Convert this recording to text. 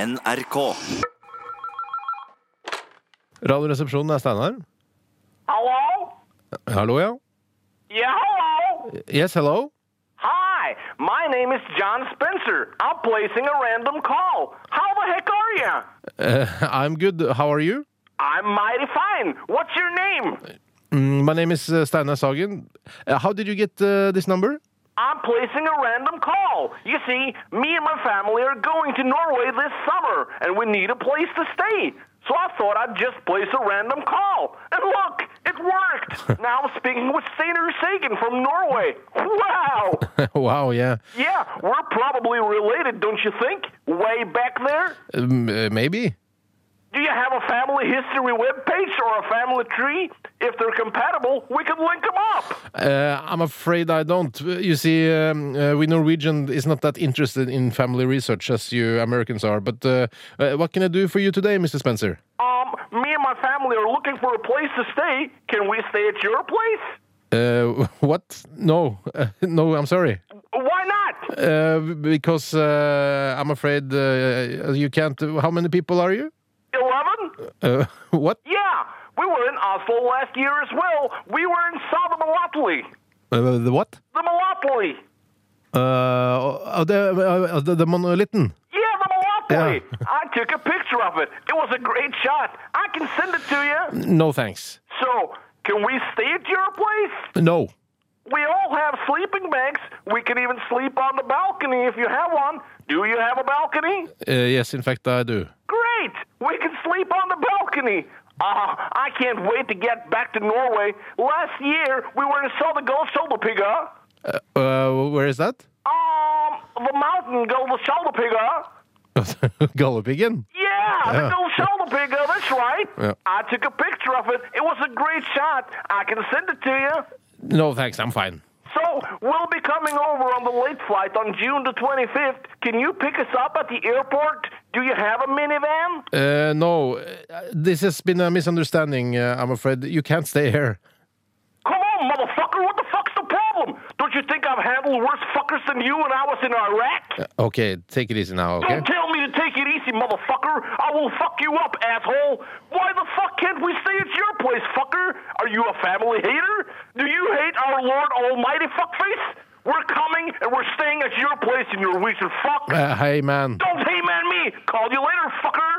NRK. Radioresepsjonen er Steinar. Hello? Hallo, ja. Yeah, hello? Yes, hello. Hi, my name is John Spencer. I'm placing a random call. How the heck are you? Eh, I'm good. How are you? I'm mighty fine. What's your name? Mm, my name is uh, Steinar Sagen. Eh, how did you get eh, this number? I'm placing a random call. You see, me and my family are going to Norway this summer, and we need a place to stay. So I thought I'd just place a random call. And look, it worked. now I'm speaking with Steinar Sagen from Norway. Wow! wow, yeah. Yeah, we're probably related, don't you think? Way back there? Um, eh, maybe. Do you have a family history webpage or a family tree? If they're compatible, we can link them up. Eh, I'm afraid I don't. You see, um, eh, we Norwegian is not that interested in family research as you Americans are. But eh, eh, what can I do for you today, Mr. Spencer? Um, me and my family are looking for a place to stay. Can we stay at your place? Eh, what? No, Eh, no. I'm sorry. Why not? Eh, because eh, I'm afraid eh, you can't. How many people are you? 11? Eh, what? Yeah, we were in Oslo last year as well. We were in Sada Malotli. Eh, the what? The Malotli. Uh, the, uh, the, the monolitten. Yeah, the Malotli. Yeah. I took a picture of it. It was a great shot. I can send it to you. No thanks. So, can we stay at your place? No. We all have sleeping bags. We can even sleep on the balcony if you have one. Do you have a balcony? Uh, yes, in fact, I do. Great! We can sleep on the balcony! Ah, I can't wait to get back to Norway. Last year, we were in Southern Gulf Solopigga. Uh, where is that? Um, the mountain Gulf Solopigga. Gullepiggen. Yeah, Yeah. the Gulf Solopigga, that's right. Yeah. I took a picture of it. It was a great shot. I can send it to you. No thanks, I'm fine. So, we'll be coming over on the late flight on June the 25th. Can you pick us up at the airport? Do you have a minivan? Uh, no, uh, this has been a misunderstanding, uh, I'm afraid. You can't stay here. Come on, motherfucker, what the fuck's the problem? Don't you think I've handled worse fuckers than you when I was in Iraq? Okay, take it easy now, okay? Don't tell me to take it easy, motherfucker. I will fuck you up, asshole. Why the fuck can't we stay at your place, fucker? Are you a family hater? Do you hate our Lord Almighty fuckface? We're coming and we're staying at your place in your recent fuck. Uh, hey, man. Don't hey man me. Call you later, fucker.